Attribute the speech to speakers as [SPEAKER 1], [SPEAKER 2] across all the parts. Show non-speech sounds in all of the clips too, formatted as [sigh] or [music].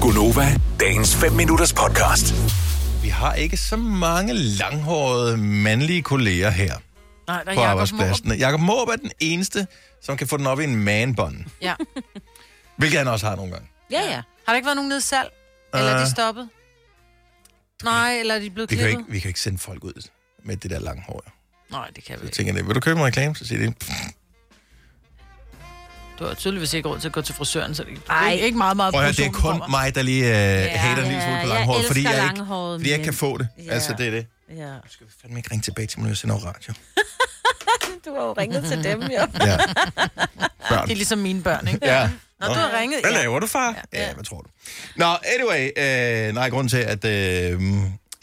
[SPEAKER 1] Gunova, dagens 5 minutters podcast.
[SPEAKER 2] Vi har ikke så mange langhårede mandlige kolleger her
[SPEAKER 3] Nej, der er
[SPEAKER 2] på
[SPEAKER 3] Jacob
[SPEAKER 2] arbejdspladsen. Jakob Måb er den eneste, som kan få den op i en manbånd.
[SPEAKER 3] Mårup. Ja.
[SPEAKER 2] Hvilket han også har nogle gange.
[SPEAKER 3] ja, ja. Har der ikke været nogen nede i salg? Eller er de stoppet? Nej, eller er de blevet
[SPEAKER 2] Vi Øh. kan, jo
[SPEAKER 3] klippet?
[SPEAKER 2] ikke, vi kan jo ikke sende folk ud med det der langhår.
[SPEAKER 3] Nej, det kan vi
[SPEAKER 2] Jeg
[SPEAKER 3] ikke.
[SPEAKER 2] tænker, det, vil du købe en reklame? Så siger de, "Pff,
[SPEAKER 3] Du har tydeligvis ikke råd til at gå til frisøren, så det
[SPEAKER 4] Ej.
[SPEAKER 3] er ikke meget, meget
[SPEAKER 2] prøv at høre, det er
[SPEAKER 3] produktionen
[SPEAKER 2] kun
[SPEAKER 3] kommer.
[SPEAKER 2] mig, der lige øh, hater en lille smule på
[SPEAKER 4] jeg
[SPEAKER 2] langhåret, fordi
[SPEAKER 4] elsker
[SPEAKER 2] jeg, ikke,
[SPEAKER 4] langhårede
[SPEAKER 2] fordi jeg ikke
[SPEAKER 4] mænd.
[SPEAKER 2] kan få det.
[SPEAKER 4] Ja.
[SPEAKER 2] Altså, det er det.
[SPEAKER 4] Ja.
[SPEAKER 2] Du skal fandme ikke ringe tilbage til mig, når jeg sender over radio.
[SPEAKER 4] Du har jo ringet til dem, jo.
[SPEAKER 2] Ja. Børn.
[SPEAKER 3] Det er ligesom mine børn, ikke?
[SPEAKER 2] Ja.
[SPEAKER 3] Nå, du har ringet.
[SPEAKER 2] Hvad
[SPEAKER 3] Ja.
[SPEAKER 2] laver du, far? Ja, ja hvad tror du? Nå, anyway, øh, nej, grund til, at... Øh,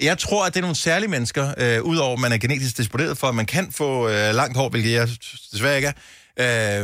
[SPEAKER 2] jeg tror, at det er nogle særlige mennesker, øh, udover at man er genetisk disponeret for, at man kan få øh, langt hår, hvilket jeg desværre ikke er,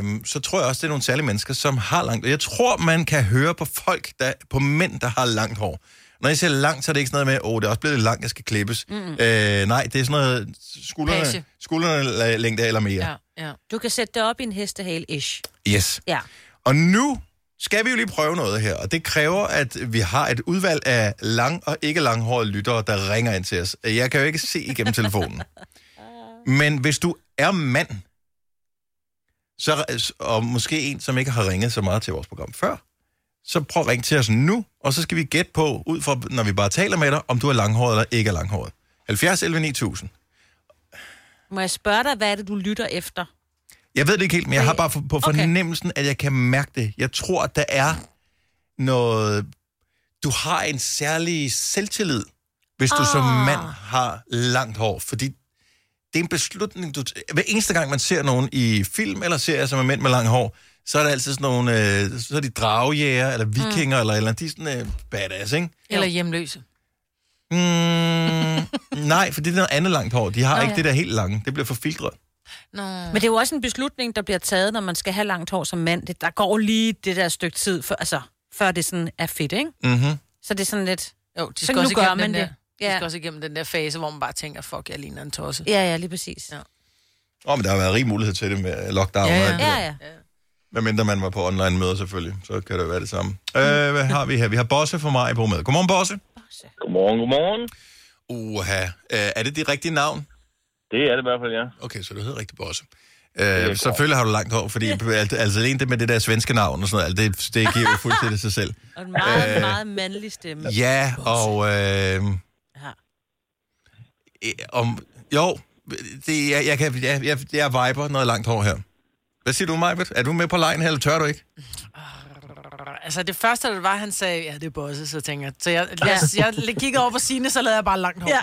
[SPEAKER 2] øh, så tror jeg også, det er nogle særlige mennesker, som har langt Jeg tror, man kan høre på folk, der, på mænd, der har langt hår. Når jeg siger langt, så er det ikke sådan noget med, åh, oh, det er også blevet lidt langt, jeg skal klippes. Mm. Øh, nej, det er sådan noget skuldrene,
[SPEAKER 3] Page.
[SPEAKER 2] skuldrene længde eller mere.
[SPEAKER 3] Ja, ja.
[SPEAKER 4] [laughs] Du kan sætte det op i en hestehale-ish.
[SPEAKER 2] Ja. Yes.
[SPEAKER 4] Ja.
[SPEAKER 2] Og nu skal vi jo lige prøve noget her, og det kræver, at vi har et udvalg af lang- og ikke langhårede lyttere, der ringer ind til os. Jeg kan jo ikke se igennem telefonen. Men hvis du er mand, så, og måske en, som ikke har ringet så meget til vores program før, så prøv at ringe til os nu, og så skal vi gætte på, ud fra, når vi bare taler med dig, om du er langhåret eller ikke er langhåret. 70 11 9000.
[SPEAKER 4] Må jeg spørge dig, hvad er det, du lytter efter?
[SPEAKER 2] Jeg ved det ikke helt, men jeg har bare for, på
[SPEAKER 4] Okay.
[SPEAKER 2] fornemmelsen, at jeg kan mærke det. Jeg tror, at der er noget... Du har en særlig selvtillid, hvis du oh. som
[SPEAKER 4] Ah.
[SPEAKER 2] mand har langt hår. Fordi det er en beslutning, du... t- Hver eneste gang, man ser nogen i film eller serier, som er mænd med langt hår, så er der altid sådan nogle... Øh, så er de dragejæger, eller vikinger, mm. eller, et eller andet. De er sådan øh, badass, ikke?
[SPEAKER 3] Eller hjemløse.
[SPEAKER 2] Mm, nej, for det er noget andet langt hår. De har ikke
[SPEAKER 4] ja.
[SPEAKER 2] det der helt lange. Det bliver forfiltret.
[SPEAKER 3] Nå.
[SPEAKER 4] Men det er jo også en beslutning, der bliver taget, når man skal have langt hår som mand. Det, der går lige det der stykke tid, før, altså, før det sådan er fedt, ikke?
[SPEAKER 2] Mm-hmm.
[SPEAKER 4] Så det er sådan lidt...
[SPEAKER 3] Jo, de
[SPEAKER 4] Så
[SPEAKER 3] skal
[SPEAKER 4] nu
[SPEAKER 3] også
[SPEAKER 4] gør
[SPEAKER 3] igennem den
[SPEAKER 4] man
[SPEAKER 3] der.
[SPEAKER 4] det.
[SPEAKER 3] De skal
[SPEAKER 4] Ja.
[SPEAKER 3] også igennem den der fase, hvor man bare tænker, fuck, jeg ligner en tosse.
[SPEAKER 4] Ja, ja, lige præcis.
[SPEAKER 3] Ja.
[SPEAKER 4] Ja,
[SPEAKER 2] Åh, men der har været rig mulighed til det med lockdown.
[SPEAKER 3] Ja,
[SPEAKER 2] og
[SPEAKER 3] ja.
[SPEAKER 2] alt det der.
[SPEAKER 4] ja. ja.
[SPEAKER 2] Hvad mindre man var på online møder selvfølgelig, så kan det jo være det samme. Øh, hvad har vi her? Vi har Bosse fra Majbo med. Godmorgen, Bosse.
[SPEAKER 5] Godmorgen, godmorgen.
[SPEAKER 2] Uha. Øh, er det dit rigtige navn?
[SPEAKER 5] Det er det i hvert fald, ja.
[SPEAKER 2] Okay, så du hedder rigtig Bosse.
[SPEAKER 5] er
[SPEAKER 2] Øh, selvfølgelig har du langt hår, fordi alt- altså alene det med det der svenske navn og sådan noget, alt det, det giver jo fuldstændig sig selv.
[SPEAKER 4] Og en meget, meget mandlig
[SPEAKER 2] [laughs]
[SPEAKER 4] stemme.
[SPEAKER 2] Øh. Ja, og... Øh,
[SPEAKER 4] Ja.
[SPEAKER 2] øh, om, jo, det, jeg, jeg, kan, jeg, jeg, jeg viber noget langt hår her. Hvad siger du, Majbet? Er du med på lejen her, eller tør du ikke?
[SPEAKER 3] Altså det første, det var, han sagde, ja, det er bosse, så tænker jeg. Så jeg, jeg, jeg, jeg kiggede over på sine, så lavede jeg bare langt hår.
[SPEAKER 4] Ja.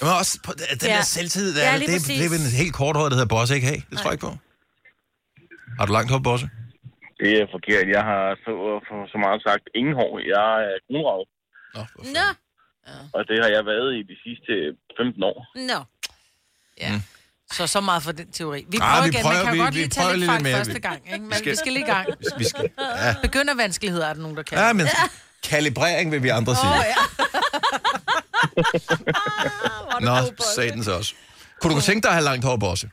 [SPEAKER 2] Men også på, den ja.
[SPEAKER 4] Ja.
[SPEAKER 2] der selvtid, der,
[SPEAKER 4] Ja,
[SPEAKER 2] ja,
[SPEAKER 4] lige
[SPEAKER 2] det, er-
[SPEAKER 4] præcis.
[SPEAKER 2] det er vel en helt kort hår, der hedder Bosse, ikke have? Det tror jeg ikke på. Har du langt hår, Bosse?
[SPEAKER 5] Det er forkert. Jeg har så, så meget sagt ingen hår. Jeg er kronrav,
[SPEAKER 2] Nå, for fanden.
[SPEAKER 4] Nå,
[SPEAKER 5] og det har jeg været i de sidste 15 år.
[SPEAKER 4] nå.
[SPEAKER 3] Ja. Så så meget for den teori. Vi prøver,
[SPEAKER 2] Ah, vi
[SPEAKER 3] igen.
[SPEAKER 2] prøver-
[SPEAKER 3] man kan
[SPEAKER 2] vi-
[SPEAKER 3] jo godt
[SPEAKER 2] vi
[SPEAKER 3] lige
[SPEAKER 2] prøver
[SPEAKER 3] tage lidt
[SPEAKER 2] lidt
[SPEAKER 3] fejl
[SPEAKER 2] mere.
[SPEAKER 3] første gang. Ikke? Men vi
[SPEAKER 2] skal-
[SPEAKER 3] skal, vi skal lige i gang.
[SPEAKER 2] [laughs] Vi skal... Ja.
[SPEAKER 3] Begynder vanskeligheder, er der nogen, der kan.
[SPEAKER 2] ja, men kalibrering vil vi andre sige. [laughs]
[SPEAKER 4] [laughs] Ah,
[SPEAKER 2] Oh, ja. Nå, sagde den så også. Kunne du godt tænke dig at have langt hår, Bosse?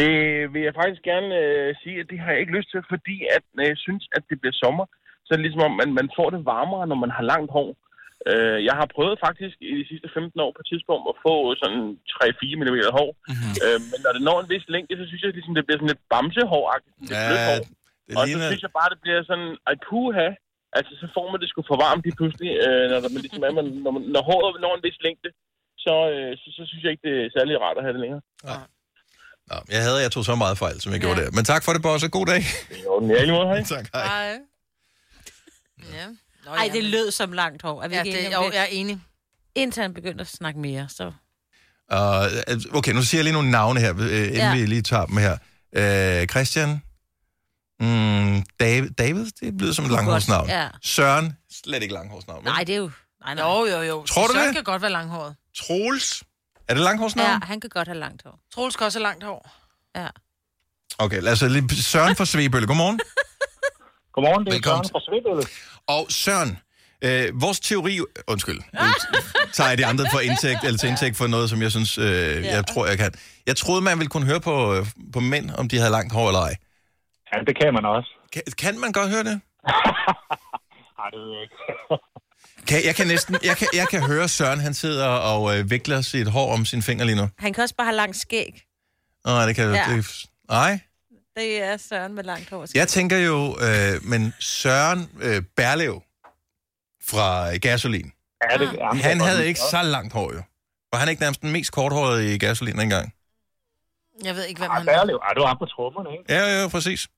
[SPEAKER 5] Det vil jeg faktisk gerne øh, sige, at det har jeg ikke lyst til, fordi at, når jeg synes, at det bliver sommer, så er det ligesom om, at man får det varmere, når man har langt hår. Øh, jeg har prøvet faktisk i de sidste 15 år på et tidspunkt at få sådan 3-4 mm hår. Mm-hmm. Øh, men når det når en vis længde, så synes jeg, ligesom, det bliver sådan lidt bamsehåragtigt. lidt blødt hår.
[SPEAKER 2] det
[SPEAKER 5] Og så
[SPEAKER 2] ligner...
[SPEAKER 5] synes jeg bare, det bliver sådan, ej puha, altså så får man det sgu for varmt lige pludselig, øh, når, der, man ligesom er, man, når, man, når håret når en vis længde, så, øh, så, så, synes jeg ikke, det er særlig rart at have det længere.
[SPEAKER 2] Nå, jeg havde, jeg tog så meget fejl, som jeg gjorde der. Men tak for det, Bosse. God dag. [laughs]
[SPEAKER 5] Jo, den er i måde, hej.
[SPEAKER 2] tak, hej.
[SPEAKER 3] Ej. Ja. Nå,
[SPEAKER 4] Ej,
[SPEAKER 3] ja,
[SPEAKER 4] det
[SPEAKER 3] men-
[SPEAKER 4] lød som langt hår. Er vi
[SPEAKER 3] Ja,
[SPEAKER 4] ikke
[SPEAKER 3] det,
[SPEAKER 4] enige
[SPEAKER 3] jo,
[SPEAKER 4] om det?
[SPEAKER 3] jeg er enig.
[SPEAKER 4] Indtil han begyndte at snakke mere, så...
[SPEAKER 2] Uh, okay, nu siger jeg lige nogle navne her, øh, inden ja.
[SPEAKER 4] Ja.
[SPEAKER 2] vi lige tager dem her. Uh, Christian. Mm, David, David, det lyder som et langhårsnavn.
[SPEAKER 4] Ja.
[SPEAKER 2] Søren, slet ikke langhårsnavn. vel?
[SPEAKER 4] Nej, det er jo... Nej, nej.
[SPEAKER 3] Jo, jo, jo.
[SPEAKER 2] Tror du
[SPEAKER 3] Søren
[SPEAKER 2] det?
[SPEAKER 3] kan godt være langhåret.
[SPEAKER 2] Troels. Er det langhårsnavn?
[SPEAKER 4] Ja,
[SPEAKER 2] Ja.
[SPEAKER 4] han kan godt have langt hår.
[SPEAKER 3] Troels kan også have langt hår.
[SPEAKER 4] Ja.
[SPEAKER 2] Okay, lad os øh, lige... Søren fra Svebølle, godmorgen.
[SPEAKER 5] Godmorgen, det
[SPEAKER 2] er Velkommen. Søren
[SPEAKER 5] fra Svindølle.
[SPEAKER 2] Og Søren, øh, vores teori... Undskyld, nu tager jeg de andre for indtægt, eller til indtægt for noget, som jeg synes, øh, jeg tror, jeg kan. Jeg troede, man ville kunne høre på, øh, på mænd, om de havde langt hår eller ej.
[SPEAKER 6] Ja, det kan man også.
[SPEAKER 2] Kan, kan man godt høre det?
[SPEAKER 6] Ej,
[SPEAKER 5] Nej, det ved jeg ikke.
[SPEAKER 2] Kan, jeg kan næsten, jeg kan, jeg kan høre Søren, han sidder og øh, vikler sit hår om sin finger lige nu.
[SPEAKER 4] Han kan også bare have langt skæg.
[SPEAKER 2] Nej, det kan ja.
[SPEAKER 4] Ja.
[SPEAKER 2] det, Nej.
[SPEAKER 4] Det er Søren med langt hår.
[SPEAKER 2] Jeg tænker jo, øh, men Søren øh, Berlev fra Gasolin,
[SPEAKER 5] Ja, det, ja, men
[SPEAKER 2] han
[SPEAKER 5] det er
[SPEAKER 2] havde
[SPEAKER 5] godt.
[SPEAKER 2] ikke så langt hår jo. Var han ikke nærmest den mest korthårede i Gasolin engang?
[SPEAKER 3] Jeg ved ikke, hvem
[SPEAKER 5] Ej,
[SPEAKER 3] han er.
[SPEAKER 5] Berlev, ej, det var ham på trummerne, ikke?
[SPEAKER 2] Ja, ja, ja, præcis.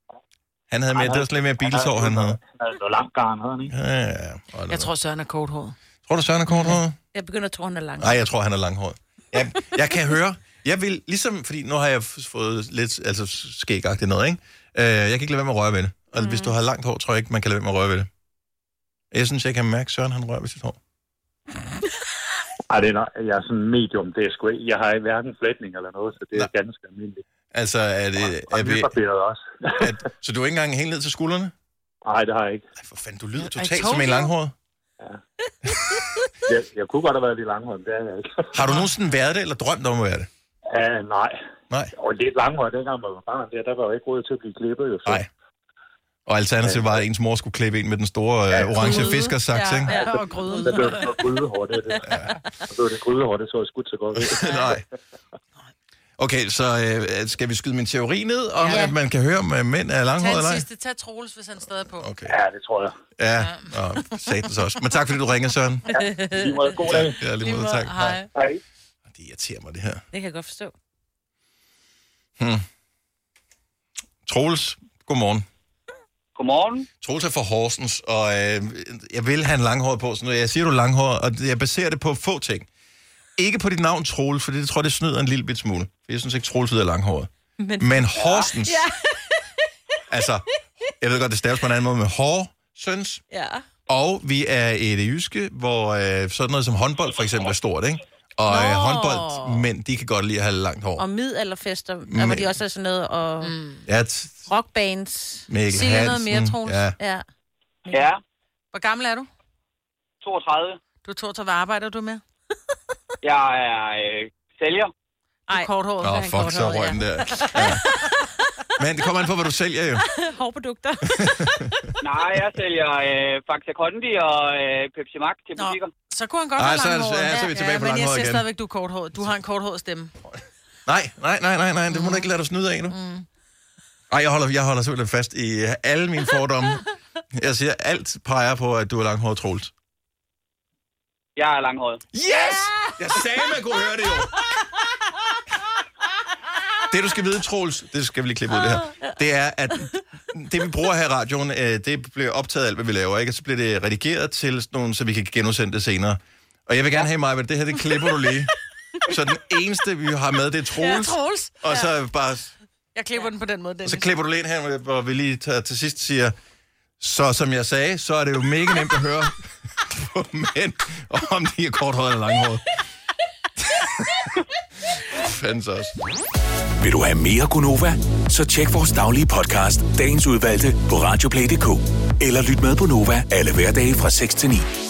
[SPEAKER 2] Han havde med,
[SPEAKER 5] Ej,
[SPEAKER 2] det
[SPEAKER 5] han-
[SPEAKER 2] var sådan lidt mere bilshår, han havde.
[SPEAKER 5] havde noget langt garn, havde han, ikke?
[SPEAKER 2] Ja, ja, ja. Hold da op.
[SPEAKER 3] Jeg tror, Søren er korthåret.
[SPEAKER 2] tror du, Søren er korthåret?
[SPEAKER 4] Jeg begynder at tro, han er langt.
[SPEAKER 2] Nej, jeg tror, han er langhåret. Jeg, jeg kan høre, jeg vil, ligesom, fordi nu har jeg f- fået lidt altså, skægagtigt noget, ikke? Øh, jeg kan ikke lade være med at røre ved det. Og mm. hvis du har langt hår, tror jeg ikke, man kan lade være med at røre ved det. Jeg synes, jeg kan mærke, Søren han rører ved sit hår.
[SPEAKER 5] Ej, det er, nok- jeg er sådan medium, det er sgu ikke. Jeg har hverken flætning eller noget, så det er ganske almindeligt.
[SPEAKER 2] Altså, er det,
[SPEAKER 5] Og
[SPEAKER 2] er vi,
[SPEAKER 5] nybarberet også.
[SPEAKER 2] er, så du er ikke engang helt ned til skuldrene?
[SPEAKER 5] Nej, det har jeg ikke.
[SPEAKER 2] Ej, for fanden, du lyder
[SPEAKER 3] I
[SPEAKER 2] totalt
[SPEAKER 3] told
[SPEAKER 2] som en
[SPEAKER 3] you.
[SPEAKER 2] langhåret.
[SPEAKER 5] Jeg, jeg kunne godt have været lidt langhånd, det er jeg ikke. [laughs]
[SPEAKER 2] Har du nogensinde været det, eller drømt om at være det?
[SPEAKER 5] Ja, nej.
[SPEAKER 2] Nej.
[SPEAKER 5] Og lidt langhånd, dengang man var barn, der, der var jo ikke råd til at blive klippet. Jo, så.
[SPEAKER 2] Nej. Og alternativet var, at ens mor skulle klippe en med den store øh, orange
[SPEAKER 4] Gryde.
[SPEAKER 2] fiskersaks, ikke?
[SPEAKER 4] Ja,
[SPEAKER 3] Og gryden.
[SPEAKER 5] Der blev det noget grydehår, det er det. Der blev det grydehår, det så jeg skudt så godt. ud.
[SPEAKER 2] [laughs] Nej. Okay, så øh, skal vi skyde min teori ned, om ja.
[SPEAKER 4] Ja.
[SPEAKER 2] at man kan høre, om øh, mænd er
[SPEAKER 3] Tag
[SPEAKER 2] langhårede eller
[SPEAKER 3] den
[SPEAKER 2] ej?
[SPEAKER 3] sidste. Tag Troels, hvis han stadig er på.
[SPEAKER 2] Okay.
[SPEAKER 5] Ja, det tror jeg.
[SPEAKER 2] Ja, og satans også. Men tak, fordi du ringer, Søren.
[SPEAKER 5] Lige måde, god dag.
[SPEAKER 2] Ja, lige
[SPEAKER 3] Lige
[SPEAKER 2] måde,
[SPEAKER 3] måde.
[SPEAKER 2] tak.
[SPEAKER 3] Hej.
[SPEAKER 5] Hej.
[SPEAKER 2] Det irriterer mig, det her.
[SPEAKER 4] Det kan jeg godt forstå.
[SPEAKER 2] Troels, godmorgen.
[SPEAKER 6] Godmorgen.
[SPEAKER 2] Troels er fra Horsens, og øh, jeg vil have en langhåret på. Sådan noget. Jeg siger, du er langhåret, og jeg baserer det på få ting. Ikke på dit navn, Troels, for det tror jeg, det snyder en lille bit smule. For jeg synes ikke, Troels lyder langhåret. Men, Men Horsens... Ja. [laughs] altså, jeg ved godt, det staves på en anden måde med Horsens.
[SPEAKER 4] Ja.
[SPEAKER 2] Og vi er i det jyske, hvor øh, sådan noget som håndbold for eksempel er stort, ikke? Og øh,
[SPEAKER 3] Nå.
[SPEAKER 2] håndboldmænd, de kan godt lide at have langt hår.
[SPEAKER 4] Og middelalderfester, der hvor de også er sådan noget, og mm.
[SPEAKER 2] Ja, t-
[SPEAKER 4] rockbands.
[SPEAKER 2] Mikkel
[SPEAKER 3] Sig lige noget
[SPEAKER 2] Hansen,
[SPEAKER 3] mere, Troels.
[SPEAKER 2] Ja.
[SPEAKER 4] Ja.
[SPEAKER 6] Ja,
[SPEAKER 3] Hvor gammel er du?
[SPEAKER 6] 32.
[SPEAKER 3] Du tog til, hvad arbejder du med?
[SPEAKER 6] Jeg er øh, sælger.
[SPEAKER 3] Du er korthåret.
[SPEAKER 2] Nå,
[SPEAKER 3] så er
[SPEAKER 2] fuck,
[SPEAKER 3] han
[SPEAKER 2] så
[SPEAKER 3] korthåret,
[SPEAKER 2] røg
[SPEAKER 3] ja.
[SPEAKER 2] den
[SPEAKER 3] [laughs]
[SPEAKER 2] der. Ja. Men det kommer an på, hvad du sælger jo.
[SPEAKER 4] Hårprodukter.
[SPEAKER 6] Nej, jeg sælger øh, Faxe Kondi og øh, Pepsi Max til
[SPEAKER 3] Nå.
[SPEAKER 6] butikker.
[SPEAKER 3] Så kunne han godt
[SPEAKER 2] Ej,
[SPEAKER 3] have
[SPEAKER 2] så er det-
[SPEAKER 3] langhåret.
[SPEAKER 2] ja, så er vi tilbage på
[SPEAKER 3] Men jeg
[SPEAKER 2] langhåret
[SPEAKER 3] ser
[SPEAKER 2] igen.
[SPEAKER 3] stadigvæk, du er korthåret. Du har en korthåret stemme.
[SPEAKER 2] Nej, nej, nej, nej, nej, det må du ikke lade dig snyde af nu.
[SPEAKER 3] Mm.
[SPEAKER 2] Ej, jeg holder, jeg holder simpelthen fast i øh, alle mine fordomme. Jeg siger, alt peger på, at du er langhåret Troels.
[SPEAKER 6] Jeg er langhåret.
[SPEAKER 2] Yes! Jeg sagde, man kunne høre det jo. Det, du skal vide, Troels, det skal vi lige klippe ud det her, det er, at det, vi bruger her i radioen, øh, det bliver optaget alt, hvad vi laver, ikke? Og så bliver det redigeret til sådan nogle, så vi kan genudsende det senere. Og jeg vil gerne have, mig, at det her, det klipper du lige. Så den eneste, vi har med, det er
[SPEAKER 3] Ja,
[SPEAKER 2] Troels.
[SPEAKER 3] Troels.
[SPEAKER 2] Og så bare,
[SPEAKER 3] Jeg klipper den på den måde, Dennis.
[SPEAKER 2] så klipper du lige ind her, hvor vi lige tager, til sidst siger, så som jeg sagde, så er det jo mega nemt at høre [laughs] på mænd, om de er korthåret eller langhåret. [laughs] Fandt også.
[SPEAKER 1] Vil du have mere Gunova? Så tjek vores daglige podcast, dagens udvalgte, på radioplay.dk. Eller lyt med på Nova alle hverdage fra 6 til 9.